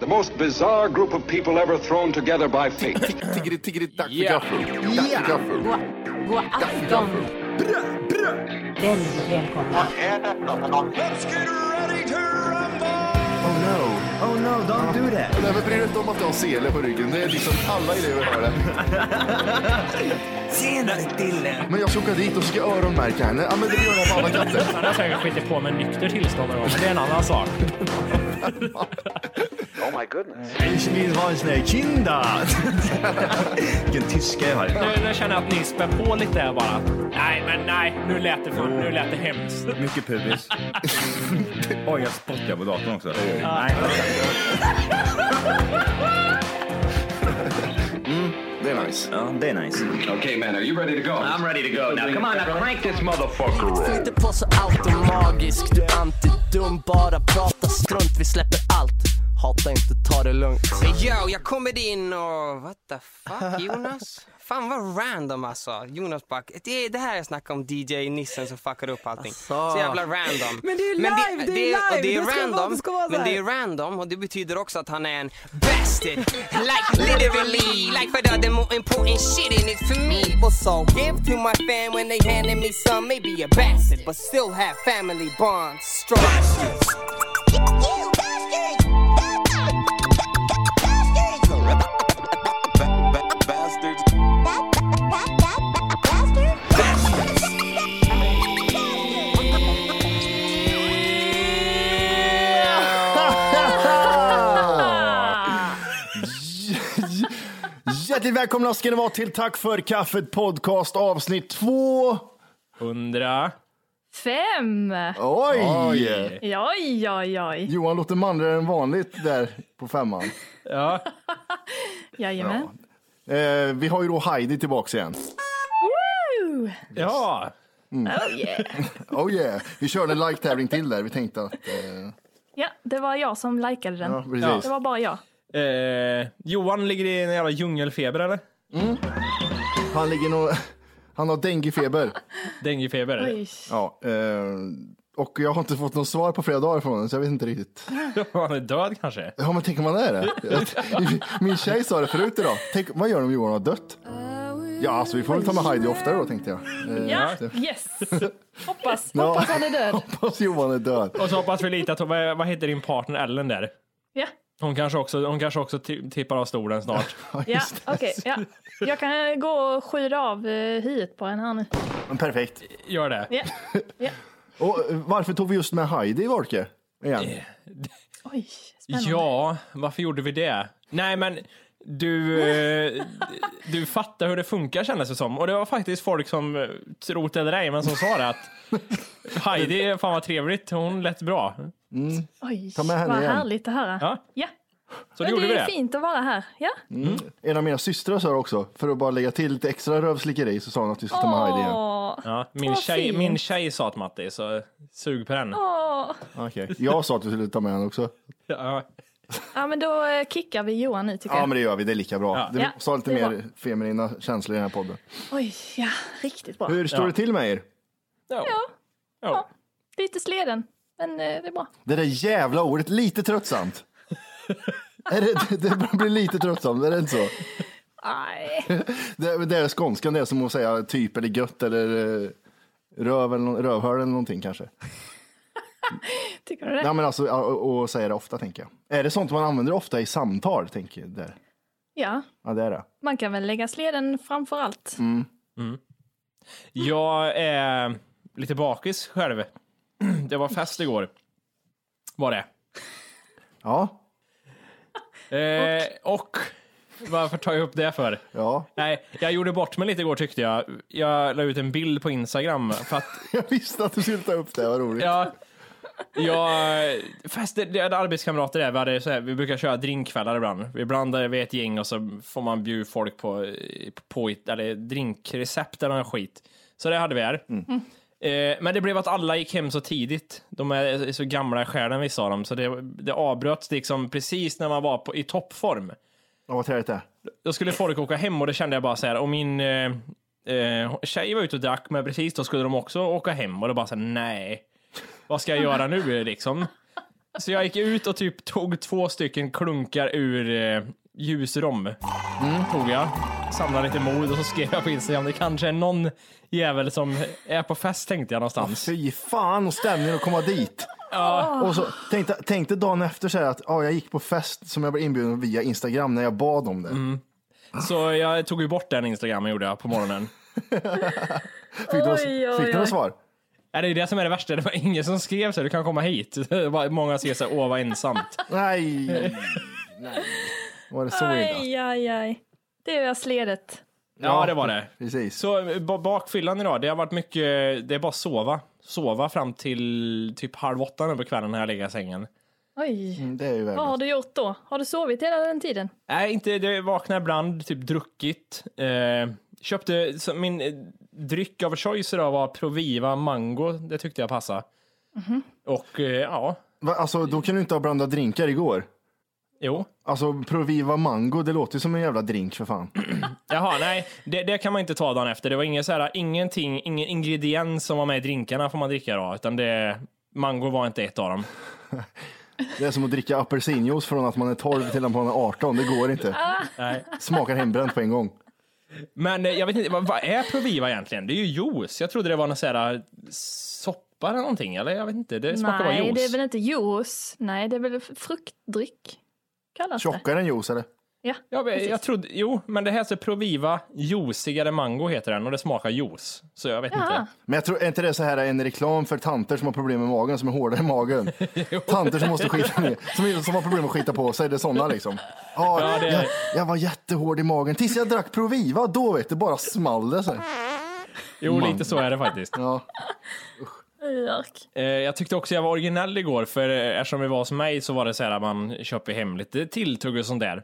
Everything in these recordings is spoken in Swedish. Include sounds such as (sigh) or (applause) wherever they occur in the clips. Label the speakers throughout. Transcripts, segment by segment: Speaker 1: The most bizarre group of people ever thrown together by fate.
Speaker 2: Tiggeri, tiggeri, dack för
Speaker 3: Ja.
Speaker 2: gaffel. Dack för gaffel.
Speaker 4: God afton! Väldigt välkomna.
Speaker 2: Oh no.
Speaker 5: Oh no, don't do that.
Speaker 2: Nej, men bry dig inte om att du har sele på ryggen. Det är liksom alla elever har det.
Speaker 5: Tjenare Dille!
Speaker 2: Men jag ska åka dit och ska öronmärka henne. Ja, men det gör jag på alla katter.
Speaker 3: Han har säkert skitit på med nykter tillstånd och men det är en annan sak.
Speaker 5: Ich vill ha en sån här kinda. (laughs) Vilken tyska jag har.
Speaker 3: Nu, nu känner jag att ni spär på lite här bara. Nej, men nej, nu lät det, för, nu lät det hemskt.
Speaker 6: Mycket pubis. Oj, jag spottar på datorn också. Nej.
Speaker 2: Det är nice.
Speaker 6: Ja, det är nice.
Speaker 1: (laughs) okay, man, are you ready to go?
Speaker 7: Flyter på så allt är magiskt Du är antidum, bara prata strunt Vi släpper allt Hata inte, ta det lugnt
Speaker 8: Yo, jag kommer in och what the fuck Jonas? Fan vad random alltså. Jonas bara, det, det här jag snackade om DJ Nissen som fuckade upp allting.
Speaker 7: Asså.
Speaker 8: Så jävla random.
Speaker 9: Men det är ju live, det är ju
Speaker 8: och
Speaker 9: live, det ska vara-
Speaker 8: random,
Speaker 9: det ska vara så
Speaker 8: Men
Speaker 9: här.
Speaker 8: det är random och det betyder också att han är en bastard. like literally, like för döden more important shit in it for me. Also give to my fan when they handed me some, maybe a bastard but still have family bonds strong.
Speaker 2: Hjärtligt välkomna ska ni vara till Tack för kaffet podcast avsnitt två.
Speaker 3: Undra.
Speaker 10: Fem!
Speaker 2: Oj!
Speaker 10: Oj, oj, oj.
Speaker 2: Johan låter manligare än vanligt där på femman.
Speaker 3: Ja.
Speaker 10: Jajamän.
Speaker 2: Eh, vi har ju då Heidi tillbaks igen.
Speaker 10: Woo!
Speaker 3: Ja.
Speaker 10: Oh yeah.
Speaker 2: Oh yeah. Vi körde en like-tävling till där. Vi tänkte att... Eh,
Speaker 10: Ja, det var jag som likade den.
Speaker 2: ja,
Speaker 10: Det
Speaker 2: precis.
Speaker 10: var bara jag.
Speaker 3: Eh, Johan ligger i en jävla djungelfeber eller?
Speaker 2: Han ligger nog... Han har denguefeber.
Speaker 3: Denguefeber.
Speaker 10: Oj.
Speaker 2: Ja, eh, och jag har inte fått något svar på flera dagar från honom, så jag vet inte riktigt.
Speaker 3: (laughs) Han är död kanske?
Speaker 2: Ja, men tänk om han är det.
Speaker 10: (laughs)
Speaker 2: Min tjej sa det förut idag. Tänk, vad gör de om Johan har dött? Ja, alltså vi får väl ta med Heidi oftare då, tänkte jag. Eh,
Speaker 10: Ja,
Speaker 2: (laughs)
Speaker 10: yes. Hoppas,
Speaker 2: Ja.
Speaker 10: hoppas han är död.
Speaker 2: Hoppas Johan är död.
Speaker 3: Och så hoppas vi lite att, vad, vad heter din partner Ellen där?
Speaker 10: Ja,
Speaker 3: Hon kanske också, hon kanske också ti- tippar av stolen snart.
Speaker 10: ja okej. ja. Jag kan gå och skyra av eh, hyet på en här nu.
Speaker 2: Men perfekt.
Speaker 3: Gör det.
Speaker 10: Ja.
Speaker 2: Och eh, varför tog vi just med Heidi, Volke? Igen.
Speaker 10: Eh. Oj, spännande.
Speaker 3: Ja, varför gjorde vi det? Nej, men du, eh, du fattar hur det funkar kändes det som. Och det var faktiskt folk som, eh, trot eller ej, men som sa det att Heidi, fan vad trevligt, hon lät bra.
Speaker 10: Oj,
Speaker 2: Ta med henne
Speaker 10: vad
Speaker 2: igen.
Speaker 10: härligt att höra.
Speaker 3: Ja.
Speaker 10: ja.
Speaker 3: Så då
Speaker 10: Men
Speaker 3: gjorde vi
Speaker 10: det
Speaker 3: det.
Speaker 10: är fint att vara här. Ja.
Speaker 2: En av mina systrar sa det också, för att bara lägga till lite extra rövslickeri så sa hon att vi skulle ta med Heidi igen.
Speaker 10: Åh,
Speaker 3: Ja, min,
Speaker 10: Vad
Speaker 3: tjej,
Speaker 10: fint.
Speaker 3: min tjej sa till Matti, så sug på den.
Speaker 10: åh.
Speaker 2: Okej. Jag sa att vi skulle ta med henne också.
Speaker 3: Ja.
Speaker 10: Ja, men då eh, kickar vi Johan nu tycker
Speaker 2: Ja,
Speaker 10: jag.
Speaker 2: men det gör vi. Det är lika bra.
Speaker 3: Ja.
Speaker 2: Det
Speaker 10: Ja,
Speaker 2: sa lite
Speaker 10: det är
Speaker 2: mer feminina känslor i den här podden.
Speaker 10: Oj, ja, riktigt bra.
Speaker 2: Hur står
Speaker 3: Ja.
Speaker 2: det till med er?
Speaker 3: Ja.
Speaker 10: Ja,
Speaker 3: Ja.
Speaker 10: lite sleden, men eh, det är bra.
Speaker 2: Det där jävla ordet, lite tröttsamt. är det, det börjar bli lite tröttsamt, är det inte så? (laughs)
Speaker 10: Nej.
Speaker 2: Det, det är skånskan, det är som att säga typ eller gött eller eh, röv eller nå- rövhörl eller någonting kanske.
Speaker 10: Tycker du det?
Speaker 2: Ja men alltså, ja, och, och säga det ofta tänker jag. Är det sånt man använder ofta i samtal, tänker jag där?
Speaker 10: Ja,
Speaker 2: Ja, det är det.
Speaker 10: man kan väl lägga sleden framför allt.
Speaker 2: Mm.
Speaker 3: Jag är lite bakis själv. (clears throat) Det var fest igår. Var det.
Speaker 2: Ja,
Speaker 3: Eh, och varför tar jag upp det för?
Speaker 2: ja. (laughs)
Speaker 3: Nej, jag gjorde bort mig lite igår tyckte jag. Jag la ut en bild på Instagram för att
Speaker 2: Jag visste att du skulle ta upp det, vad roligt.
Speaker 3: jag... jag fast det, jag hade arbetskamrater där, vi, hade så här, vi brukar köra drinkkvällar ibland. Ibland är vi ett gäng och så får man bjuda folk på, på eller drinkrecept eller någon skit. Så det hade vi här. Eh, men det blev att alla gick hem så tidigt. De är så gamla i själen vissa av dem, så det, det avbröts liksom precis när man var på, i toppform.
Speaker 2: Ja, vad trevligt det är.
Speaker 3: då skulle folk åka hem och det kände jag bara så här, och min eh, eh, tjej var ute och drack, men precis då skulle de också åka hem och det bara så här, nej, vad ska jag göra nu liksom? Så jag gick ut och typ tog två stycken klunkar ur eh, ljusrom. Mm, Tog jag. Samlade lite mod och så skrev jag på Instagram. Det kanske är någon jävel som är på fest tänkte jag någonstans.
Speaker 2: Fy fan och stämningen att komma dit. Och så tänkte, tänkte dagen efter så här att ja, jag gick på fest som jag blev inbjuden via Instagram när jag bad om det.
Speaker 3: Så jag tog ju bort den Instagramen gjorde jag på morgonen.
Speaker 2: Fick du,
Speaker 10: Oj, oj,
Speaker 2: fick du några
Speaker 10: oj.
Speaker 2: svar?
Speaker 3: Ja, det är ju det som är det värsta. Det var ingen som skrev så här, du kan komma hit. (laughs) Det var Många skrev såhär, åh vad ensamt.
Speaker 2: Nej. Nej.
Speaker 10: (laughs)
Speaker 2: Var det så illa?
Speaker 10: Aj, aj, aj. Det är sledet.
Speaker 3: Ja, det var det.
Speaker 2: Precis.
Speaker 3: Så eh, ba- bakfyllan idag, det har varit mycket, det är bara sova. Sova fram till typ halv åtta nu på kvällen när jag ligger i sängen.
Speaker 10: Oj.
Speaker 2: Mm, Det är ju
Speaker 10: Vad har
Speaker 2: värdelöst.
Speaker 10: du gjort då? Har du sovit hela den tiden?
Speaker 3: Nej, inte det. Vaknar ibland, typ druckit. Eh, köpte, så min eh, dryck av choice idag var Proviva Mango. Det tyckte jag passade. Och eh, ja,
Speaker 2: Va, Alltså, då kan du inte ha blandat drinkar igår.
Speaker 3: jo.
Speaker 2: Alltså, Proviva Mango, det låter ju som en jävla drink för fan.
Speaker 3: Jaha, nej, det, det kan man inte ta dagen efter. Det var ingen så här, ingenting, ingen ingrediens som var med i drinkarna får man dricka idag, utan det, mango var inte ett av dem.
Speaker 2: Det är som att dricka apelsinjuice från att man är 12 till att man är 18. Det går
Speaker 10: (laughs) Ah.
Speaker 2: inte.
Speaker 3: Nej.
Speaker 2: Smakar hembränt på en gång.
Speaker 3: Men eh, jag vet inte, vad, vad är Proviva egentligen? Det är ju juice. Jag trodde det var någon så här eh, soppa eller någonting, eller jag vet inte. Det smakar bara
Speaker 10: Nej,
Speaker 3: juice.
Speaker 10: det är väl inte juice. Nej, det är väl fruktdryck. Kallas det.
Speaker 2: Tjockare än juice eller?
Speaker 10: Ja,
Speaker 3: Jag, jag, jag trodde, jo, men det här heter Proviva Juicigare Mango heter den och det smakar juice. Så jag vet
Speaker 10: Jaha.
Speaker 2: Men jag tror är inte det är så här en reklam för tanter som har problem med magen, som är hårdare i
Speaker 3: (laughs)
Speaker 2: magen. tanter som måste skita ner, som, som har problem med att skita på sig. Det är sådana liksom. Ja,
Speaker 3: Ja, det-
Speaker 2: jag, jag var jättehård i magen tills jag drack Proviva. Då vet du, bara small det. Så här.
Speaker 3: inte. Jo, lite så är det faktiskt.
Speaker 10: (laughs)
Speaker 2: Ja.
Speaker 10: Örk.
Speaker 3: Eh, Jag tyckte också jag var originell igår, för eh, eftersom vi var hos mig så var det så här att man köper hem lite tilltugg och sånt där.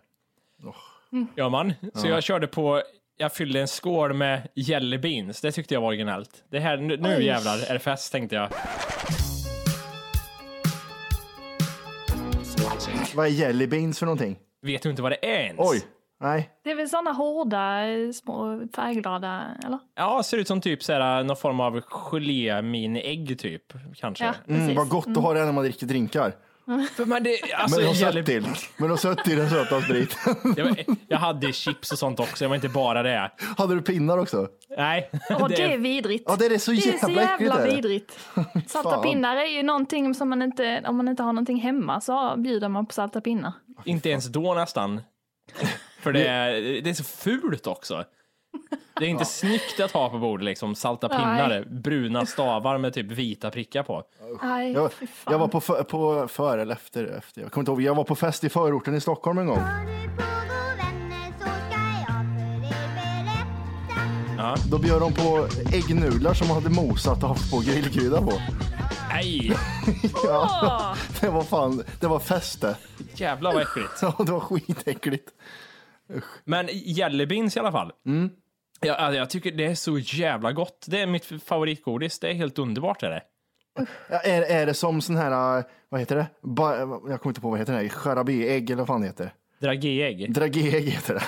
Speaker 10: Mm.
Speaker 3: Gör man. Så jag körde på, jag fyllde en skål med jelly beans. Det tyckte jag var originellt. Det här, nu, nu jävlar är det fest tänkte jag.
Speaker 2: Vad är jelly beans för någonting?
Speaker 3: Vet du inte vad det är ens?
Speaker 2: Oj, nej.
Speaker 10: Det är väl sådana hårda, eh, små färgglada, eller?
Speaker 3: Ja, ser ut som typ så här, någon form av geléminiägg typ, kanske.
Speaker 10: Ja, precis.
Speaker 2: Mm, vad gott att ha det när man dricker drinkar.
Speaker 3: För, men det, alltså,
Speaker 2: Men de
Speaker 3: jelly-
Speaker 2: sött till. Men de sött till den söta spriten. (laughs)
Speaker 3: jag, jag hade chips och sånt också, jag var inte bara det.
Speaker 2: Hade du pinnar också?
Speaker 3: Nej.
Speaker 10: (laughs)
Speaker 3: (laughs)
Speaker 10: Åh,
Speaker 3: det-
Speaker 10: det är vidrigt.
Speaker 2: Ja, det är det så
Speaker 10: Det är så
Speaker 2: jävla äckligt.
Speaker 10: jävla
Speaker 2: är det.
Speaker 10: vidrigt.
Speaker 2: (laughs)
Speaker 10: Salta
Speaker 2: Fan.
Speaker 10: pinnar är ju någonting som man inte, om man inte har någonting hemma så bjuder man på salta pinnar.
Speaker 3: Inte ens då nästan. För det är, det är så fult också. Det är inte snyggt att ha på bordet liksom, salta pinnar, bruna stavar med typ vita prickar på.
Speaker 10: Nej,
Speaker 2: Jag,
Speaker 10: fy fan.
Speaker 2: jag var på, för, på för eller efter, efter, jag kommer inte ihåg. Jag var på fest i förorten i Stockholm en gång. Då bjöd de på äggnudlar som hade mosat och haft på grillkrydda på.
Speaker 3: Nej,
Speaker 2: Ja, det var fan, det var fest det. (laughs)
Speaker 3: jävlar vad äckligt.
Speaker 2: Ja, det var skitäckligt.
Speaker 3: Men jelly beans i alla fall. Mm. Jag, alltså, jag tycker det är så jävla gott. Det är mitt favoritgodis. Det är helt underbart är det.
Speaker 2: Ja, är, är det som sån här, äh, vad heter det? Ba, jag kommer inte på vad heter det, charabéägg eller vad fan det heter.
Speaker 3: Dragéägg.
Speaker 2: Dragéägg heter det.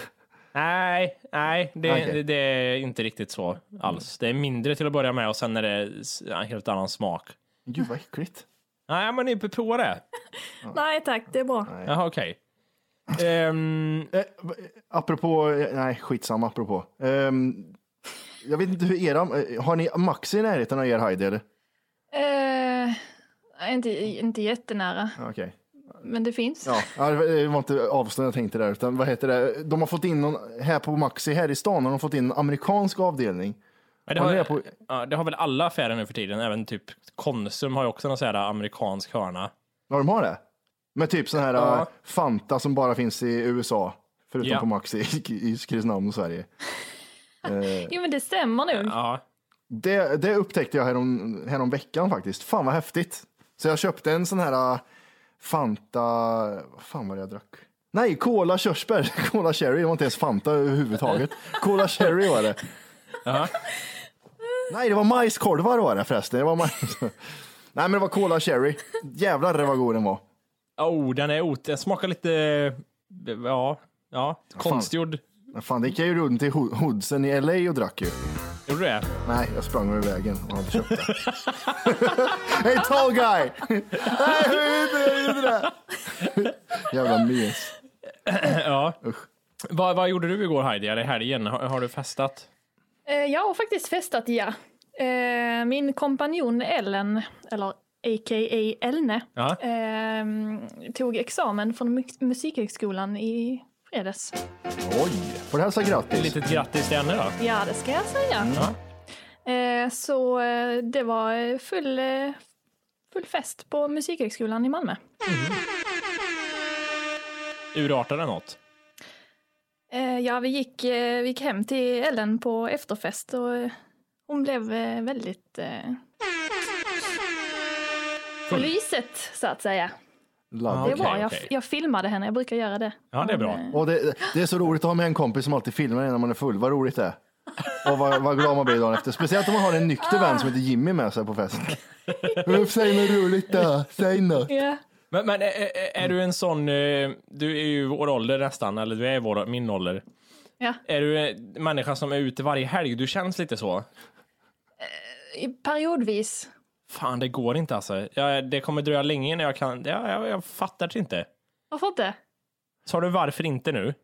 Speaker 3: Nej, nej, det,
Speaker 2: Okej.
Speaker 3: det, det är inte riktigt så alls. Det är mindre till att börja med och sen är det s- en helt annan smak.
Speaker 2: Gud vad äckligt.
Speaker 3: Nej, men ni prova det.
Speaker 10: Nej tack, det är bra.
Speaker 3: Jaha, okej. Ehm,
Speaker 2: Eh, va- eh, apropå, eh, nej skitsamma apropå. Ehm, jag vet inte hur era, eh, har ni Maxi i närheten av er Heidi eller?
Speaker 10: Eh, inte, inte jättenära,
Speaker 2: Okej.
Speaker 10: men det finns.
Speaker 2: Ja, ja, det var- det var inte avstånd jag tänkte där, utan vad heter det? De har fått in någon, här på Maxi här i stan har de fått in en amerikansk avdelning.
Speaker 3: men det,
Speaker 2: Har
Speaker 3: har,
Speaker 2: ni det på-
Speaker 3: ja, det har väl alla affärer nu för tiden, även typ Konsum har ju också någon sån här amerikansk hörna.
Speaker 2: Ja, de har det? Med typ sån här
Speaker 3: Ja.
Speaker 2: eh, Fanta som bara finns i USA, förutom
Speaker 3: Ja.
Speaker 2: på Maxi i, i Kristinehamn och Sverige.
Speaker 10: Jo men det stämmer
Speaker 2: Mm.
Speaker 10: nog.
Speaker 3: Ja,
Speaker 2: Det, det upptäckte jag härom, härom veckan faktiskt. Fan vad häftigt. Så jag köpte en sån här äh, Fanta, vad fan var det jag drack? Nej, Cola körsbär, (laughs) Cola Cherry, det var inte ens Fanta överhuvudtaget. Cola Cherry var det.
Speaker 3: Ja.
Speaker 2: Nej, det var majskolvar var det förresten. Det var majs... (laughs) Nej, men det var Cola Cherry. Jävlar det var god den var.
Speaker 3: oh, den är ot... Den smakar lite... Ja, ja, konstgjord.
Speaker 2: Men Fan, det gick jag ju runt i ho- hoodsen i LA och drack ju.
Speaker 3: Gjorde du det?
Speaker 2: Nej, jag sprang över vägen och han köpte. hey tall guy! Nej, jag gjorde det, jag gjorde det. Jävla mes.
Speaker 3: (clears throat) Ja. Vad, vad gjorde du igår Heidi, eller i helgen? Har, har du festat?
Speaker 10: Eh, Jag har faktiskt festat, ja. Eh, Min kompanjon Ellen, eller a.k.a. Elne,
Speaker 3: Ja.
Speaker 10: ehm, tog examen från mu- Musikhögskolan i fredags.
Speaker 2: Oj! Får du hälsa
Speaker 3: Ett
Speaker 2: grattis?
Speaker 3: litet grattis till henne då.
Speaker 10: Ja, det ska jag säga. Eh, Så eh, det var eh, full, eh, full fest på Musikhögskolan i Malmö.
Speaker 3: Urartade något?
Speaker 10: Eh, Ja, vi gick, eh, vi gick hem till Ellen på efterfest och eh, hon blev eh, väldigt... eh, På lyset, så att säga.
Speaker 2: Love.
Speaker 10: Det
Speaker 3: Okej,
Speaker 10: var, jag,
Speaker 3: okej.
Speaker 10: jag filmade henne, jag brukar göra det.
Speaker 3: Ja, det är bra.
Speaker 2: Och det, det är så roligt att ha med en kompis som alltid filmar en när man är full. Vad roligt det är. Och vad, vad glad man blir dagen efter. Speciellt om man har en nykter vän som heter Jimmy med sig på festen. Upp, Säg något roligt då. Säg något.
Speaker 10: Ja.
Speaker 3: Men, men är, är- är du en sån, eh, du är ju vår ålder nästan, eller du är vår, min ålder.
Speaker 10: Ja.
Speaker 3: Är du en människa som är ute varje helg? Du känns lite så.
Speaker 10: I- Periodvis.
Speaker 3: Fan, det går inte alltså. Jag, det kommer dröja länge innan jag kan, jag, jag, jag fattar det inte.
Speaker 10: Varför inte?
Speaker 3: Sa du varför inte nu?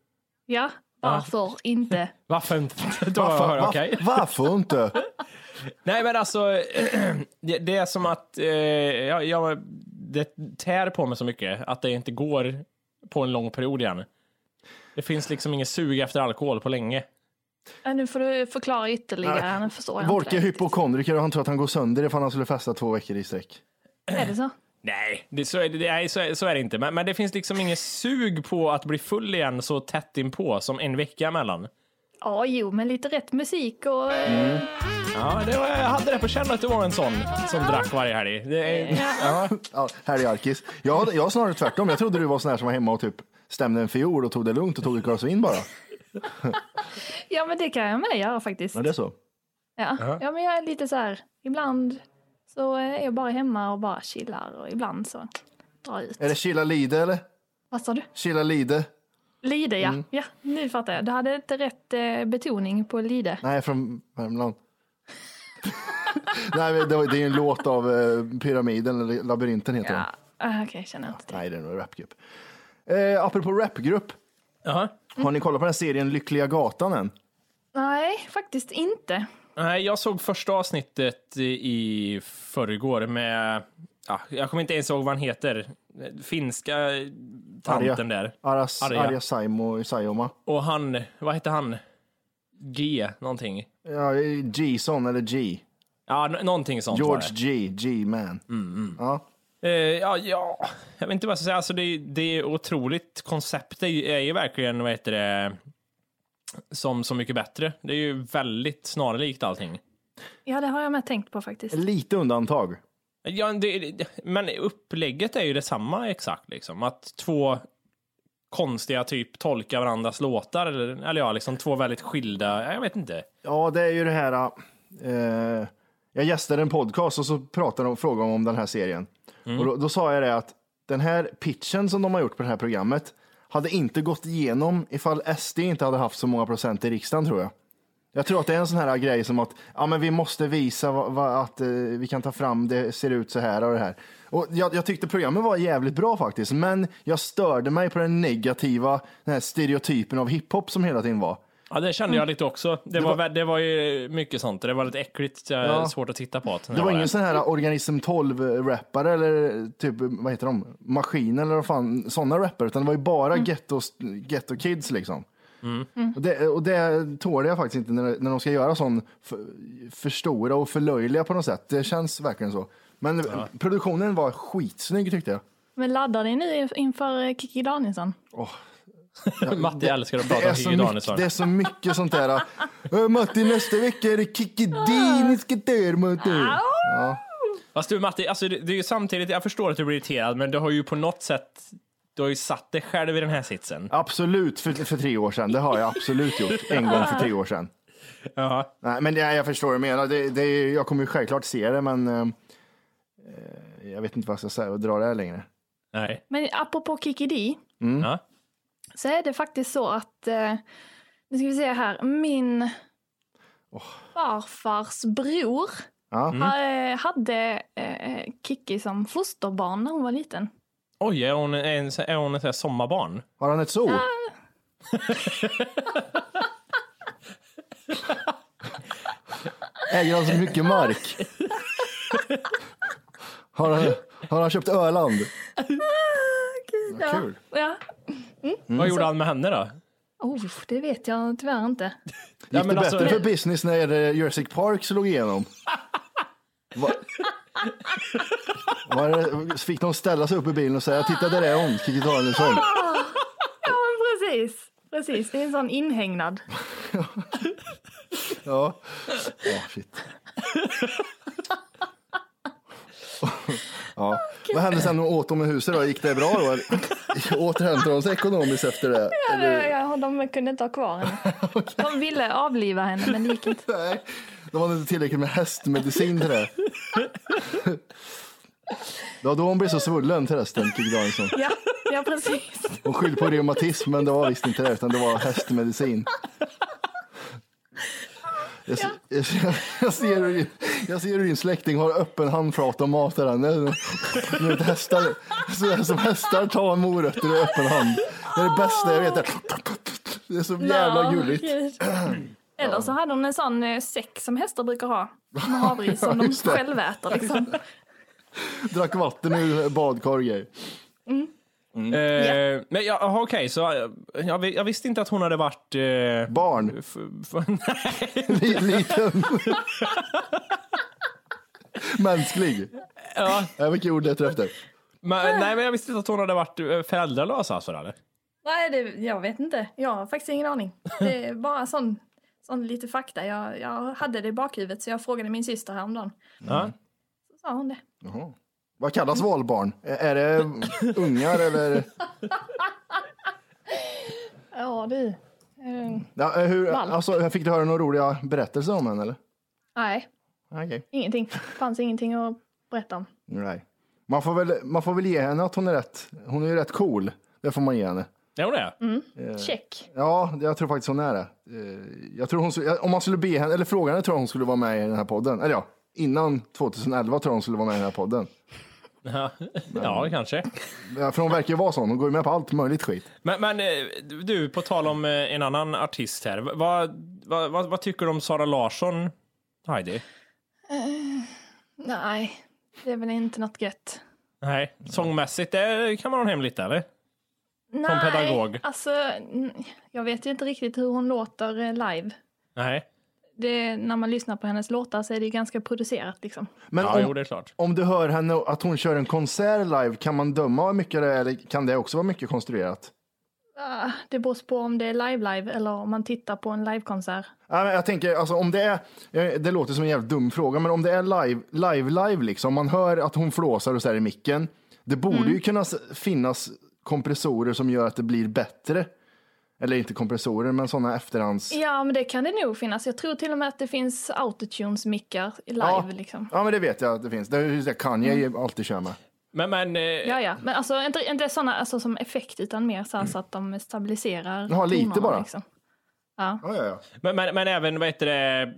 Speaker 10: Ja, varför inte?
Speaker 3: Varför inte? (laughs) Då har jag hört, okej.
Speaker 2: Varför, varför inte?
Speaker 3: Nej men alltså, (clears throat) det, det är som att eh, jag, jag, det tär på mig så mycket att det inte går på en lång period igen. Det finns liksom ingen sug efter alkohol på länge.
Speaker 10: Ja, nu får du förklara ytterligare, nu förstår jag
Speaker 2: Volke är
Speaker 10: inte. riktigt.
Speaker 2: hypokondriker och han tror att han går sönder ifall han skulle festa två veckor i sträck.
Speaker 10: Är det så?
Speaker 3: Nej, det, så, är det, nej så, är- så är det inte. Men, men det finns liksom ingen sug på att bli full igen så tätt inpå som en vecka emellan.
Speaker 10: Ja, jo, men lite rätt musik och... eh,
Speaker 3: Ja, det var, jag hade det på känn att du var en sån som drack varje helg. Det är, ja.
Speaker 2: Ja, här är Arkis. Jag, jag snarare tvärtom. Jag trodde du var sån här som var hemma och typ stämde en fiol och tog det lugnt och tog ett glas vin bara.
Speaker 10: Ja, men det kan jag med göra faktiskt.
Speaker 2: Men det är så.
Speaker 10: Ja. ja, men jag är lite så här, ibland så eh, är jag bara hemma och bara chillar och ibland så drar jag ut.
Speaker 2: Är det chilla lide eller?
Speaker 10: Vad sa du?
Speaker 2: Chilla lide?
Speaker 10: Lide, ja. Ja, nu fattar jag. Du hade inte rätt eh, betoning på lide.
Speaker 2: Nej, från Värmland. Nej, men det, var, det är en låt av eh, Pyramiden, eller Labyrinten heter den.
Speaker 10: Ja, ah, okej, känner jag inte till.
Speaker 2: Nej, det är nog en rapgrupp. Eh, apropå rapgrupp,
Speaker 3: Jaha.
Speaker 2: har ni kollat på den här serien Lyckliga Gatan än?
Speaker 10: Nej, faktiskt inte.
Speaker 3: Nej, jag såg första avsnittet i förrgår med, ja, jag kommer inte ens ihåg vad han heter, finska tanten där.
Speaker 2: Aras,
Speaker 3: Arja.
Speaker 2: Arja, Saimo, Saijonmaa.
Speaker 3: Och han, vad hette han? G någonting.
Speaker 2: Ja, G-son eller G.
Speaker 3: Ja, n- någonting sånt
Speaker 2: George
Speaker 3: var
Speaker 2: G. G-man. Ja.
Speaker 3: det. Eh, ja, ja, jag vet inte vad jag ska säga. Alltså, det, det är otroligt. Konceptet är ju verkligen, vad heter det, som Så mycket bättre. Det är ju väldigt snarlikt allting.
Speaker 10: Ja, det har jag med tänkt på faktiskt.
Speaker 2: Lite undantag.
Speaker 3: Ja, det, det- men upplägget är ju detsamma exakt. Liksom. Att två konstiga typ tolkar varandras låtar. Eller, eller ja, liksom två väldigt skilda. Jag vet inte.
Speaker 2: Ja, det är ju det här. Eh, jag gästade en podcast och så pratade de frågade de om den här serien. Och då, då sa jag det att den här pitchen som de har gjort på det här programmet hade inte gått igenom ifall SD inte hade haft så många procent i riksdagen tror jag. Jag tror att det är en sån här grej som att ja, men vi måste visa vad, vad, att eh, vi kan ta fram det ser ut så här och det här. Och jag, jag tyckte programmet var jävligt bra faktiskt, men jag störde mig på den negativa den här stereotypen av hiphop som hela tiden var.
Speaker 3: Ja, det kände
Speaker 2: Mm.
Speaker 3: jag lite också. Det, var, vä- det var ju mycket sånt. Det var lite äckligt. eh, Svårt att titta på. att-
Speaker 2: Det var ingen sån här organism 12-rappare eller typ, vad heter de, maskin eller vad fan, sådana rappare, utan det var ju bara ghetto, ghetto kids liksom. Och, det, och det tål jag faktiskt inte när, när de ska göra sån för, förstora och förlöjliga på något sätt. Det känns verkligen så. Men produktionen var skitsnygg tyckte jag.
Speaker 10: Men laddar ni nu inför eh, Kikki Danielsson?
Speaker 3: Matti älskar
Speaker 2: Det
Speaker 3: att prata
Speaker 2: är,
Speaker 3: om
Speaker 2: så
Speaker 3: Kikki Danielsson.
Speaker 2: mycket, det är så mycket sånt där. "Äh, Matti, nästa vecka är det Kikki Diniska där, Matti.
Speaker 3: Fast du Matti, alltså, det, det är ju samtidigt, jag förstår att du blir irriterad, men du har ju på något sätt, du har ju satt dig själv i den här sitsen.
Speaker 2: Absolut för, för tre år sedan. Det har jag absolut gjort. En gång för tre år sedan.
Speaker 3: Ja.
Speaker 2: Nej, men det, jag förstår vad du menar. Det, det, är- jag kommer ju självklart se det, men eh, eh, jag vet inte vad jag ska säga och dra det här längre.
Speaker 3: Nej.
Speaker 10: Men apropå Kikki Dee,
Speaker 2: Mm.
Speaker 3: Ja.
Speaker 10: så är det faktiskt så att, eh, nu ska vi se här, min farfars bror
Speaker 2: Ja.
Speaker 3: Mm.
Speaker 10: ha- hade eh, Kikki som fosterbarn när hon var liten.
Speaker 3: Oj, är hon, är, en- är hon ett sånt här sommarbarn?
Speaker 2: Har han ett zoo?
Speaker 10: Ah,
Speaker 2: Äger han så mycket
Speaker 3: (laughs)
Speaker 2: mark? Har han, har han köpt Öland? Kul.
Speaker 10: ah, Ja.
Speaker 2: Mm.
Speaker 3: Vad gjorde han med henne då?
Speaker 10: Oh, det vet jag tyvärr inte.
Speaker 2: Gick det
Speaker 3: men alltså-
Speaker 2: bättre för business när eh, Jurassic Park slog igenom? Va?
Speaker 3: (laughs)
Speaker 2: Var det, fick de ställa sig upp i bilen och säga titta där är hon, Kikki Danielsson.
Speaker 10: Ja, men precis. Precis, det är en sån inhägnad.
Speaker 2: Ja. Ja, shit. ja. Vad hände sen när de åt dem i huset då? Gick det bra då? Återhämtade de sig ekonomiskt efter det?
Speaker 10: Ja, ja, de kunde inte ha
Speaker 2: (laughs)
Speaker 10: kvar henne. De ville avliva henne, men det gick inte.
Speaker 2: Nej, de hade inte tillräckligt med hästmedicin till det. Det var då hon blev så svullen till resten, liksom. Kikki Danielsson.
Speaker 10: Ja, ja precis.
Speaker 2: Hon skyllde på reumatism, men det var visst inte det, utan det var hästmedicin. Jag, se- jag, ser- jag, ser hur din, jag ser hur din släkting har öppen handflata och matar henne. Nu vet hästar, sådär som hästar tar morötter i öppen hand. Det är det bästa jag vet. Det är så (laughs) jävla
Speaker 10: Ja,
Speaker 2: gulligt.
Speaker 10: gud. Eller så hade hon en sån eh, säck som hästar
Speaker 2: (laughs)
Speaker 10: brukar ha. Med havre i, som de
Speaker 2: just det.
Speaker 10: själva äter liksom.
Speaker 2: Drack vatten ur badkorgar.
Speaker 3: Eh, Men ja, aha, okej, så eh, jag, vi- jag visste inte att hon hade varit... Eh,
Speaker 2: Barn,
Speaker 3: f- (laughs) f-
Speaker 10: (laughs)
Speaker 2: li, liten. Mänsklig.
Speaker 3: ja,
Speaker 2: Jag fick ord efter efter.
Speaker 3: men, nej, men jag visste inte att hon hade varit eh, föräldralös alltså,
Speaker 2: Mm.
Speaker 3: eller?
Speaker 10: Nej, det, jag vet inte. Jag har faktiskt ingen aning. Det (laughs) är bara sån, sån lite fakta. Jag, jag hade det i bakhuvudet så jag frågade min syster häromdagen.
Speaker 3: Ja.
Speaker 10: Så sa hon det.
Speaker 2: Vad kallas valbarn? Ä- Är det ungar eller?
Speaker 10: Ja, du. Ehm,
Speaker 2: Ja, eh, hur,
Speaker 10: Valp.
Speaker 2: alltså, fick du höra några roliga berättelser om henne eller?
Speaker 10: nej,
Speaker 2: Okej.
Speaker 10: ingenting. fanns ingenting att berätta om.
Speaker 2: Nej. Man får, väl, man får väl ge henne att hon är rätt, hon är ju rätt cool. Det får man ge henne.
Speaker 3: Är hon det?
Speaker 10: Check.
Speaker 2: Ja, jag tror faktiskt hon är det. Eh, Jag tror hon, skulle- om man skulle be henne, eller fråga henne tror jag hon skulle vara med i den här podden. Eller ja, innan 2011 tror jag hon skulle vara med i den här podden.
Speaker 3: Ja, ja
Speaker 2: Mm.
Speaker 3: kanske.
Speaker 2: Ja, För hon verkar ju vara sån, hon går ju med på allt möjligt skit.
Speaker 3: Men, men eh, du, på tal om eh, en annan artist här. Vad, vad, vad, vad tycker du om Sara Larsson, Heidi?
Speaker 10: Nej, det är väl inte något gött.
Speaker 3: Nej, sångmässigt det kan man ha en hemligt eller?
Speaker 10: Nej,
Speaker 3: pedagog.
Speaker 10: alltså n- jag vet ju inte riktigt hur hon låter eh, live.
Speaker 3: Nej,
Speaker 10: Det, när man lyssnar på hennes låtar så är det ju ganska producerat liksom.
Speaker 2: Men
Speaker 3: ja, jo,
Speaker 2: om,
Speaker 3: det är klart.
Speaker 2: om du hör henne och- att hon kör en konsert live, kan man döma hur mycket det är eller kan det också vara mycket konstruerat?
Speaker 10: Ah, Det beror på om det är live-live eller om man tittar på en livekonsert.
Speaker 2: Nej, men Jag tänker, alltså, om det är, eh, det låter som en jävligt dum fråga, men om det är live, live, live liksom, man hör att hon flåsar och så här i micken, det borde ju kunna s- finnas kompressorer som gör att det blir bättre. Eller inte kompressorer, men sådana efterhands...
Speaker 10: Ja, men det kan det nog finnas. Jag tror till och med att det finns autotunes-mickar live
Speaker 2: Ja.
Speaker 10: liksom.
Speaker 2: Ja, men det vet jag att det finns. Det är ju så här Kanye alltid kör med.
Speaker 3: Men, men, eh,
Speaker 10: Ja, ja, men alltså inte, inte sådana alltså, som effekt utan mer så, här, så att de stabiliserar
Speaker 2: Jaha, lite
Speaker 10: tonerna,
Speaker 2: bara.
Speaker 10: Liksom.
Speaker 2: Ja, ja, ja.
Speaker 3: men, men, men även, vad heter det,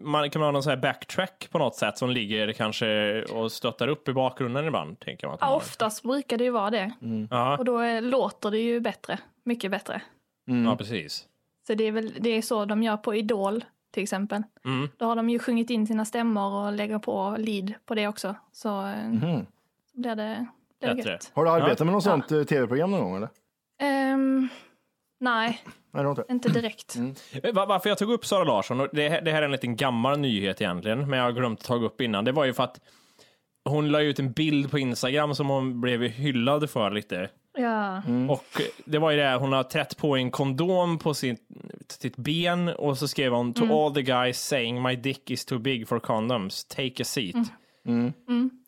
Speaker 3: man, kan man ha någon sån här backtrack på något sätt som ligger kanske och stöttar upp i bakgrunden ibland? Tänker man att man
Speaker 10: Ja,
Speaker 3: har.
Speaker 10: oftast brukar det ju vara det.
Speaker 2: Mm.
Speaker 3: Ja,
Speaker 10: Och då eh, låter det ju bättre, mycket bättre.
Speaker 3: ja, precis.
Speaker 10: Så det är väl det är så de gör på Idol till exempel.
Speaker 3: Mm.
Speaker 10: Då har de ju sjungit in sina stämmor och lägger på lead på det också. Så eh,
Speaker 2: Mhm.
Speaker 10: så blir det, blir det
Speaker 3: Bättre.
Speaker 10: gött.
Speaker 2: Har du arbetat med något sånt eh, tv-program någon gång eller?
Speaker 10: Ehm, nej,
Speaker 2: Nej, det har inte.
Speaker 10: inte direkt.
Speaker 3: Eh, va- Varför jag tog upp Sara Larsson, och det, här- det här är en liten gammal nyhet egentligen, men jag har glömt ta upp innan, det var ju för att hon la ut en bild på Instagram som hon blev hyllad för lite.
Speaker 10: Ja.
Speaker 2: Mm.
Speaker 3: Och det var ju det, hon har trätt på en kondom på sitt, sitt ben och så skrev hon To all the guys saying my dick is too big for condoms, take a seat.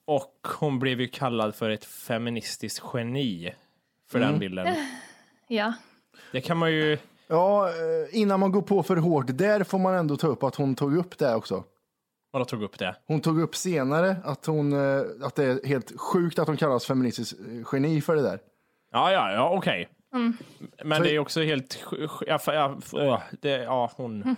Speaker 3: Och hon blev ju kallad för ett feministiskt geni för den bilden.
Speaker 10: ja.
Speaker 3: Det kan man ju...
Speaker 2: Ja, eh, innan man går på för hårt där får man ändå ta upp att hon tog upp det också.
Speaker 3: Vadå tog upp det?
Speaker 2: Hon tog upp senare att, hon, eh, att det är helt sjukt att hon kallas feministisk eh, geni för det där.
Speaker 3: Ja, ja, ja, okej. Men det är ju också helt... sj- sj- Ja, fa- ja, f- öh, det, ja hon...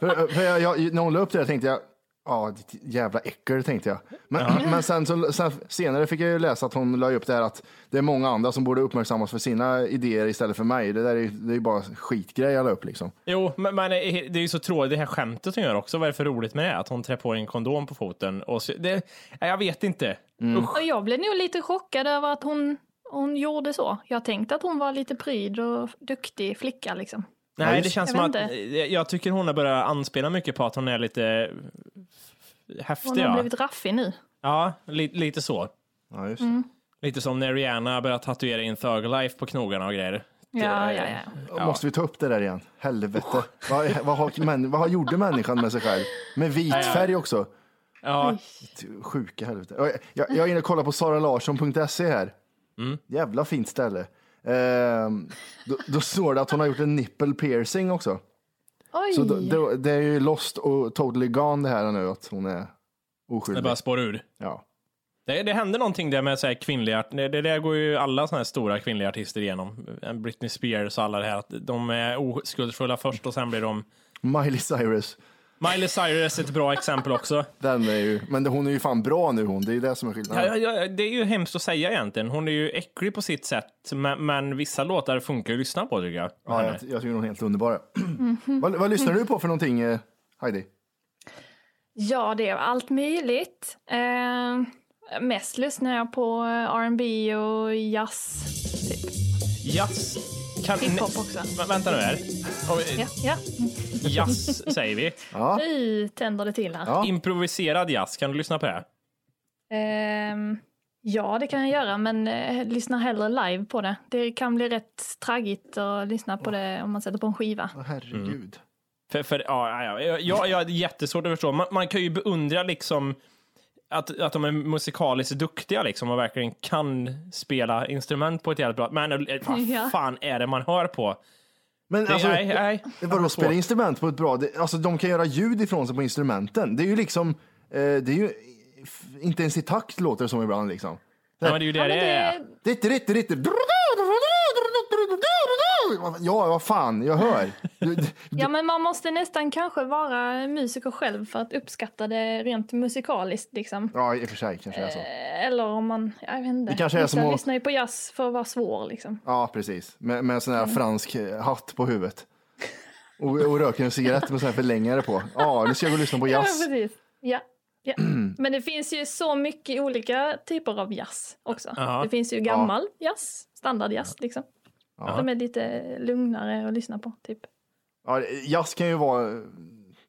Speaker 2: För, för jag, jag, när hon la upp det där tänkte jag, ja ditt jävla äckel tänkte jag. Men, men sen, så, sen senare fick jag ju läsa att hon la upp det här att det är många andra som borde uppmärksammas för sina idéer istället för mig. Det där är ju det är ju bara skitgrej jag la upp liksom.
Speaker 3: Jo, men, men eh, det är ju så tråkigt, det här skämtet hon gör också. Vad är det för roligt med det? Att hon trär på en kondom på foten. Och så, det, nej, jag vet inte. Usch.
Speaker 10: Och jag blev nog lite chockad över att hon, hon gjorde så. Jag tänkte att hon var lite pryd och duktig flicka liksom.
Speaker 3: Nej, det känns som
Speaker 10: Jag
Speaker 3: att eh,
Speaker 10: vet
Speaker 3: jag tycker hon har börjat anspela mycket på att hon är lite häftig.
Speaker 10: Hon har
Speaker 3: ja.
Speaker 10: blivit raffig nu.
Speaker 3: Ja, li, lite så.
Speaker 2: Ja, just.
Speaker 3: Lite som när Rihanna började tatuera in Thug-Life på knogarna och grejer.
Speaker 10: Ja, ja, ja.
Speaker 2: Då Måste vi ta upp det där igen? Helvete. Vad, vad, har, män, vad har gjorde människan med sig själv? Med vit färg också.
Speaker 3: Ja,
Speaker 2: Sjuka helvete. Och Jag, jag, jag är inne och kollar på saralarsson.se här.
Speaker 3: Mm.
Speaker 2: Jävla fint ställe. Ehm, då, då står det att hon har gjort en nipple piercing också.
Speaker 10: Oj!
Speaker 2: Så då, då, det är ju lost och totally gone det här nu att hon är
Speaker 3: det
Speaker 2: oskyldig.
Speaker 3: bara spår ur.
Speaker 2: Ja.
Speaker 3: Det, det hände någonting där med så här kvinnliga, art- det, det där går ju alla såna här stora kvinnliga artister igenom. Eh, Britney Spears och alla det här, att de är oskuldsfulla först och sen blir de...
Speaker 2: Miley Cyrus,
Speaker 3: Miley Cyrus är ett bra exempel också.
Speaker 2: den är ju, men hon är ju fan bra nu hon, det är ju det som är skillnaden.
Speaker 3: Ja, ja, ja, det är ju hemskt att säga egentligen. Hon är ju äcklig på sitt sätt, men, men vissa låtar funkar ju att lyssna på tycker jag.
Speaker 2: Ja, jag, jag tycker hon är helt underbar. vad, vad lyssnar du på för någonting eh, Heidi?
Speaker 10: Ja, det är allt möjligt. Eh, mest lyssnar jag på eh, R&B och jazz.
Speaker 3: Jazz. Kan,
Speaker 10: Hiphop också.
Speaker 3: Vä- vänta nu här. Och, eh,
Speaker 10: Ja, ja. (laughs)
Speaker 3: Jazz säger vi.
Speaker 10: Oj, tänder det till här.
Speaker 2: Ja.
Speaker 3: Improviserad jazz, kan du lyssna på det?
Speaker 10: Ehm, ja, det kan jag göra, men eh, lyssna hellre live på det. Det kan bli rätt traggigt att lyssna på det om man sätter på en skiva.
Speaker 2: Åh, Herregud.
Speaker 3: För, för, ja, ja, ja, ja, jag är jättesvårt att förstå. Man, man kan ju beundra liksom att, att de är musikaliskt duktiga liksom och verkligen kan spela instrument på ett jävligt bra... Men eh,
Speaker 10: (laughs) Ja.
Speaker 3: vad fan är det man hör på?
Speaker 2: Men
Speaker 3: Det,
Speaker 2: alltså,
Speaker 3: nej, nej.
Speaker 2: Det var att spela instrument på ett bra... Det, alltså de kan göra ljud ifrån sig på instrumenten. Det är ju liksom... Eh, det är ju f- inte ens i takt låter det som ibland liksom.
Speaker 3: Ja, men det är ju det
Speaker 10: Ja, men
Speaker 3: det är.
Speaker 10: det,
Speaker 2: Ditt, ditt, ditt, ditt. Ja, vad fan, jag hör. Du- du-
Speaker 10: ja, men man måste nästan kanske vara musiker själv för att uppskatta det rent musikaliskt. Liksom.
Speaker 2: Ja, i och för sig kanske det är så.
Speaker 10: Eh, Eller om man, jag vet inte.
Speaker 2: Det kanske är
Speaker 10: Vissa
Speaker 2: som att-
Speaker 10: lyssnar ju på jazz för att vara svår liksom.
Speaker 2: Ja, precis. Med, med en sån här fransk eh, hatt på huvudet. Och, och röker en cigarett med sån här förlängare på. Ja, nu ska jag gå och lyssna på
Speaker 10: Ja,
Speaker 2: jazz.
Speaker 10: precis. Ja.
Speaker 2: (clears throat)
Speaker 10: Ja. Men det finns ju så mycket olika typer av jazz också.
Speaker 3: Ja.
Speaker 10: Det finns ju gammal jazz, standardjazz liksom. De är lite lugnare att lyssna på, typ.
Speaker 2: Ja, jazz kan ju vara...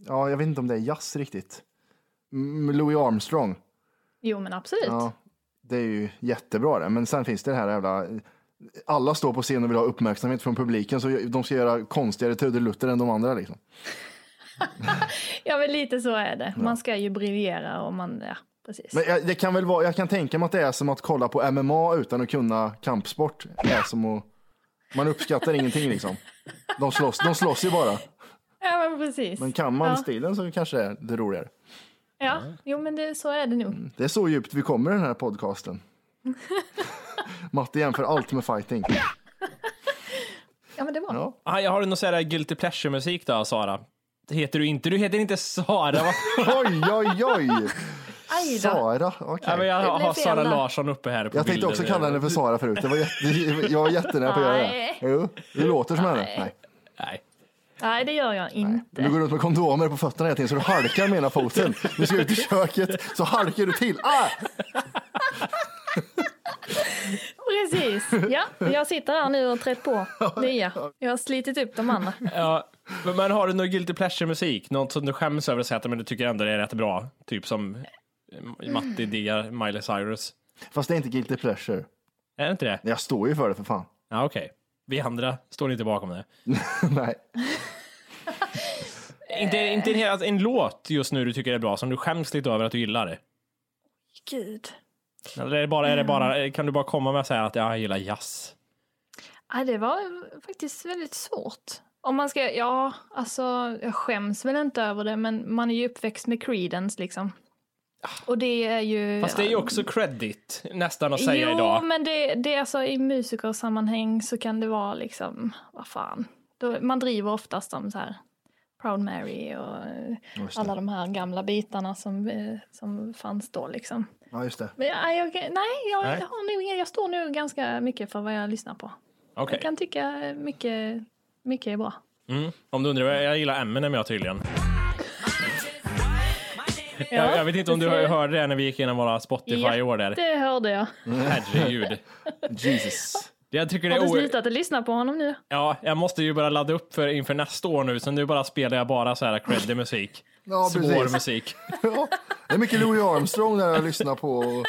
Speaker 2: Ja, jag vet inte om det är jazz riktigt. Mm, Louis Armstrong.
Speaker 10: Jo, men absolut.
Speaker 2: Ja, det är ju jättebra det. Men sen finns det det här jävla... Alla står på scen och vill ha uppmärksamhet från publiken så de ska göra konstigare trudelutter än de andra. Liksom.
Speaker 10: Ja, men lite så är det. Man ska ju briljera och man, ja, precis.
Speaker 2: Men jag, det kan väl vara, jag kan tänka mig att det är som att kolla på MMA utan att kunna kampsport. Det är som att, man uppskattar ingenting liksom. De slåss, de slåss ju bara.
Speaker 10: Ja, men precis.
Speaker 2: Men kan man
Speaker 10: Ja.
Speaker 2: stilen så kanske det är det roligare.
Speaker 10: Ja, jo, men det, så är det nog.
Speaker 3: Mm.
Speaker 2: Det är så djupt vi kommer i den här podcasten. Matte jämför allt med fighting.
Speaker 10: Ja, men det var
Speaker 2: Ja.
Speaker 3: Ah, jag har någon sån här guilty pleasure-musik då, Sara. Det heter du inte. Du heter inte Sara.
Speaker 10: (laughs)
Speaker 3: Vad
Speaker 2: Oj, oj, oj!
Speaker 10: Aj då.
Speaker 2: Sara, okej.
Speaker 3: Ja, men jag
Speaker 10: Det blev
Speaker 3: har
Speaker 10: fel
Speaker 3: Sara
Speaker 10: där.
Speaker 3: Larsson uppe här på
Speaker 2: Jag tänkte
Speaker 3: bilden.
Speaker 2: också kalla henne för Sara förut. Det var jätte, (laughs) jag var jättenära på att göra det.
Speaker 10: Nej.
Speaker 2: Jo, du låter som henne. Nej.
Speaker 3: Nej.
Speaker 10: Nej, det gör jag inte.
Speaker 2: Du
Speaker 3: Mm.
Speaker 2: går runt med kondomer på fötterna hela tiden så du halkar med ena foten. Du ska ut i köket så halkar du till. Ah!
Speaker 10: Precis. Ja, jag sitter här nu och
Speaker 3: (laughs)
Speaker 10: trätt på nya. Jag har slitit upp de andra.
Speaker 3: Ja, men- men har du någon guilty pleasure-musik? Något som du skäms över att säga att men du tycker ändå det är rätt bra? Typ som eh, Matti diggar Miley Cyrus.
Speaker 2: Fast det är inte guilty pleasure.
Speaker 3: Är det inte det?
Speaker 2: Jag står ju för det för fan. (laughs)
Speaker 3: Ja, okej. Vi andra står inte bakom det.
Speaker 2: Nej.
Speaker 3: Inte, inte en, hel- alltså, en låt just nu du tycker är bra som du skäms lite över att du gillar?
Speaker 10: Gud.
Speaker 3: Eller är det bara, är det
Speaker 10: Mm.
Speaker 3: bara, kan du bara komma med och säga att ja, jag gillar jazz?
Speaker 10: Ja, det var faktiskt väldigt svårt. Om man ska, ja, alltså jag skäms väl inte över det, men man är ju uppväxt med Creedence liksom. Och det är ju...
Speaker 3: Ah. Fast det är ju också credit nästan att säga
Speaker 10: jo,
Speaker 3: idag.
Speaker 10: men det, det är alltså i musikersammanhang så kan det vara liksom, vad fan. Då, man driver oftast om så här, Proud Mary och eh, alla de här gamla bitarna som, eh, som fanns då liksom.
Speaker 2: Ja, just det.
Speaker 10: Men jag, jag, nej, jag,
Speaker 3: Nej.
Speaker 10: Har nog, ingen- jag står nu ganska mycket för vad jag lyssnar på.
Speaker 3: Okej.
Speaker 10: Jag kan tycka mycket, mycket är bra.
Speaker 3: Mm. Om du undrar, jag gillar Eminem jag tydligen.
Speaker 10: Ja,
Speaker 3: jag, jag vet inte om du
Speaker 10: det-
Speaker 3: hörde det när vi gick igenom våra Spotify i år där.
Speaker 10: Det hörde jag.
Speaker 3: Herregud.
Speaker 2: Jesus.
Speaker 3: Jag tycker det
Speaker 10: Har du
Speaker 3: är o-
Speaker 10: slutat att lyssna på honom nu?
Speaker 3: Ja, jag måste ju börja ladda upp för inför nästa år nu, så nu bara spelar jag bara så här creddig musik.
Speaker 2: Ja,
Speaker 3: Svår
Speaker 2: precis.
Speaker 3: musik.
Speaker 2: (laughs) Ja, det är mycket Louis Armstrong när jag lyssnar på.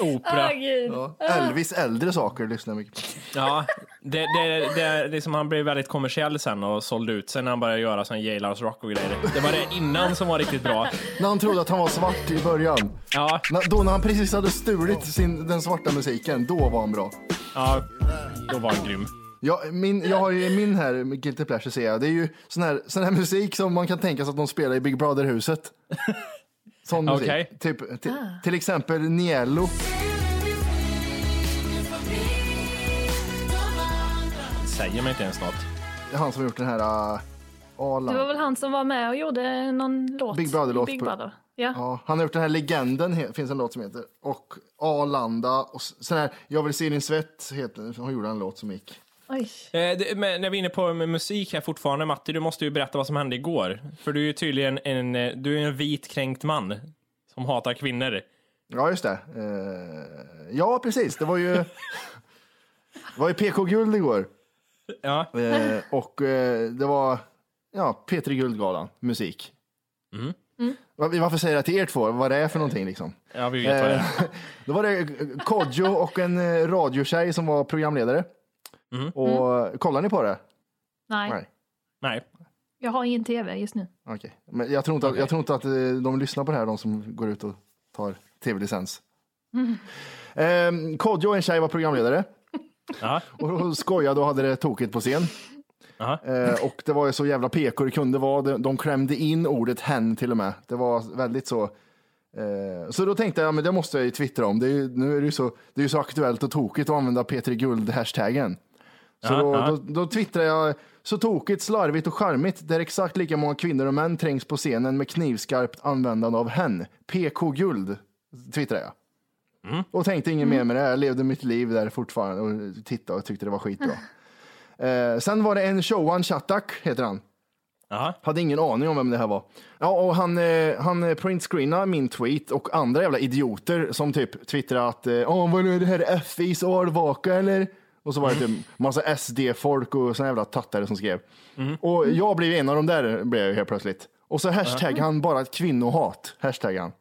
Speaker 3: Opera.
Speaker 10: gud.
Speaker 2: Ja. Elvis äldre saker lyssnar jag mycket på.
Speaker 3: Ja, det, det, det, det är som han blev väldigt kommersiell sen och sålde ut sig när han började göra sån Jailhouse Rock och grejer. Det var det innan som var riktigt bra.
Speaker 2: När han trodde att han var svart i början.
Speaker 3: Ja,
Speaker 2: När- Då när han precis hade stulit sin, den svarta musiken, då var han bra.
Speaker 3: ja då var han grym.
Speaker 2: Ja, min, jag har ju min här, med Guilty Pleasure ser jag. Det är ju sån här, sån här musik som man kan tänka sig att de spelar i Big Brother-huset. Sån musik.
Speaker 3: Okej.
Speaker 2: Typ, ti-
Speaker 10: Ah.
Speaker 2: Till exempel Niello.
Speaker 3: Säger mig inte ens något.
Speaker 2: Det är han som har gjort den här uh,
Speaker 10: Det var väl han som var med och gjorde någon låt?
Speaker 2: Big Brother-låt
Speaker 10: Big
Speaker 2: på-
Speaker 10: Brother. Ja.
Speaker 2: Ja, han har gjort den här legenden, he- finns en låt som heter. Och Arlanda och s- sån här, Jag vill se din svett, heter, hon gjorde en låt som gick.
Speaker 10: Oj.
Speaker 3: Eh, det, men när vi är inne på med musik här fortfarande, Matti, du måste ju berätta vad som hände igår. För du är ju tydligen en, eh, du är en vit kränkt man som hatar kvinnor.
Speaker 2: Ja, just det. Eh, ja, precis. Det var
Speaker 10: (laughs)
Speaker 2: ju, det var ju PK-guld igår.
Speaker 3: Ja,
Speaker 2: Eh, och eh, det var ja, Petri Guldgalan, musik.
Speaker 3: Mm.
Speaker 2: Var- Varför säger jag till er två vad det är för någonting liksom?
Speaker 3: ja vi vet vad det är.
Speaker 2: Eh, Då var det eh, Kodjo och en eh, radiotjej som var programledare.
Speaker 3: Mm.
Speaker 2: Och kollar ni på det?
Speaker 10: Nej,
Speaker 2: Nej.
Speaker 3: Nej.
Speaker 10: jag har ingen tv just nu.
Speaker 2: Okej. Men jag tror, inte att, jag tror inte att eh, de lyssnar på det här, de som går ut och tar tv-licens.
Speaker 3: Mm.
Speaker 2: Eh, Kodjo och en tjej var programledare
Speaker 3: Ja,
Speaker 2: och hon skojade och hade det tokigt på scen.
Speaker 3: Aha.
Speaker 2: Eh, och det var ju så jävla PK det kunde vara. De, de klämde in ordet hen till och med. Det var väldigt så. Eh, så då tänkte jag, men det måste jag ju twittra om. Det är ju, nu är det ju så, det är ju så aktuellt och tokigt att använda P3 Guld-hashtaggen. Så
Speaker 3: Ja,
Speaker 2: då,
Speaker 3: ja.
Speaker 2: Då, då twittrade jag, så tokigt, slarvigt och charmigt där exakt lika många kvinnor och män trängs på scenen med knivskarpt användande av hen. PK Guld, twittrade jag.
Speaker 3: Mm.
Speaker 2: Och tänkte inget mer med det. Jag levde mitt liv där fortfarande och tittade och tyckte det var skitbra. Eh, sen var det en Showan Chatak, heter han.
Speaker 3: Aha.
Speaker 2: Hade ingen aning om vem det här var. Ja, och han, eh, han printscreenade min tweet och andra jävla idioter som typ twittrade att eh, Åh, vad är det här FIs valvaka eller? Och så var det typ massa SD-folk och såna jävla tattare som skrev. Och jag blev en av de där blev jag ju helt plötsligt. Och så hashtag han bara kvinnohat, hashtag han.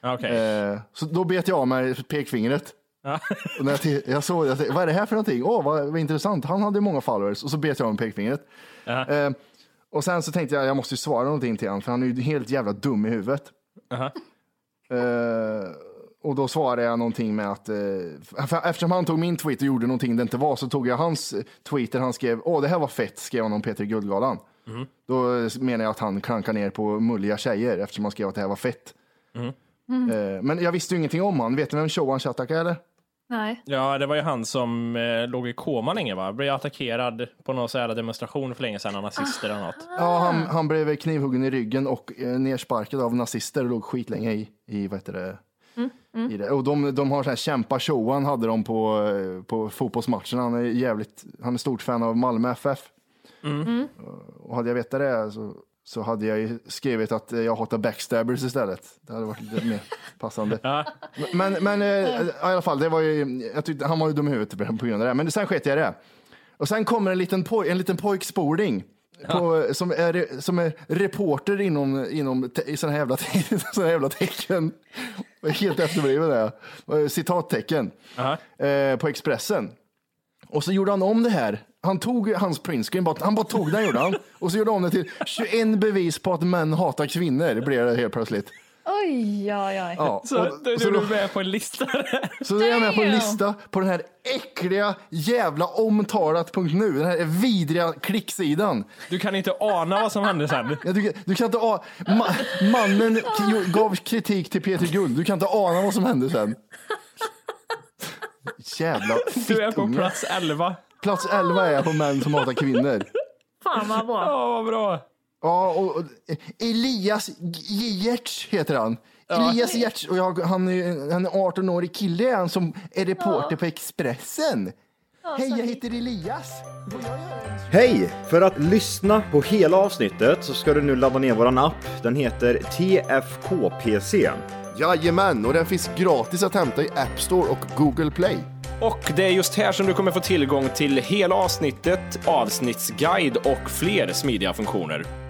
Speaker 3: Ja, okej.
Speaker 2: Eh, så då bet jag av mig pekfingret.
Speaker 3: Ja.
Speaker 2: Och när jag, t- jag såg jag tänkte, vad är det här för någonting? Åh, vad, vad intressant. Han hade många followers och så bet jag om pekfingret.
Speaker 3: Ja.
Speaker 2: Eh, och sen så tänkte jag, jag måste ju svara någonting till honom, för han är ju helt jävla dum i huvudet.
Speaker 3: Aha.
Speaker 2: Eh, och då svarade jag någonting med att, eh, för- eftersom han tog min tweet och gjorde någonting det inte var, så tog jag hans tweet där han skrev, åh det här var fett, skrev han om Peter i Guldgalan.
Speaker 3: Mhm.
Speaker 2: Då eh, menar jag att han klankar ner på mulliga tjejer, eftersom han skrev att det här var fett. Eh, men jag visste ju ingenting om han. Vet ni vem Showan Shatak är eller?
Speaker 10: Nej.
Speaker 3: Ja, det var ju han som eh, låg i koma länge va? Blev attackerad på någon så här demonstration för länge sedan av nazister eller något.
Speaker 2: Ja, han, han blev knivhuggen i ryggen och eh, nersparkad av nazister och låg skitlänge i, i vad heter det? I det. Och de, de har så här kämpa showan hade de på, eh, på fotbollsmatcherna. Han är jävligt, han är stort fan av Malmö FF. Och hade jag vetat det så, så hade jag ju skrivit att eh, jag hatar backstabbers istället. Det hade varit lite mer passande. Men, men eh, i alla fall, det var ju, jag tyckte, han var ju dum i huvudet på grund av det. Men sen sket jag i det. Och sen kommer en liten, poj, en liten pojkspoling. På, som, är, som är reporter inom, inom te, i såna här jävla, te, (laughs) såna här jävla tecken. Jag är Helt efterbliven är jag. Eh, Citattecken. Eh, på Expressen. Och så gjorde han om det här. Han tog hans printscreen, bara, han bara tog den gjorde han. Och så gjorde han om det till 21 bevis på att män hatar kvinnor, blev det helt plötsligt.
Speaker 10: Oj, oj, oj.
Speaker 2: Ja,
Speaker 3: (laughs) Så,
Speaker 2: och-
Speaker 3: då är
Speaker 2: så
Speaker 3: du
Speaker 2: då-
Speaker 3: med på en lista där.
Speaker 2: så nu är jag med på en
Speaker 10: Damn!
Speaker 2: lista på den här äckliga jävla omtalat.nu, den här vidriga klicksidan.
Speaker 3: Du kan inte ana vad som hände sen.
Speaker 2: Jag tycker, du kan inte a- ma- mannen k- gav kritik till Peter Guld, du kan inte ana vad som hände sen. Jävla
Speaker 3: Du är på
Speaker 2: fittunge.
Speaker 3: plats 11.
Speaker 2: Plats 11 är jag på män som hatar kvinnor.
Speaker 3: (laughs)
Speaker 10: Fan vad bra.
Speaker 3: Ja, vad bra.
Speaker 2: Ja, och, och Elias Giertz heter han. Elias Giertz, och jag, han är han är 18-årig kille är han som är reporter på Expressen. Hej, jag heter Elias. Får jag göra en-
Speaker 5: Hej! För att lyssna på hela avsnittet så ska du nu ladda ner våran app. Den heter TFKPC.
Speaker 2: Jajamän, och den finns gratis att hämta i App Store och Google Play.
Speaker 3: Och det är just här som du kommer få tillgång till hela avsnittet, avsnittsguide och fler smidiga funktioner.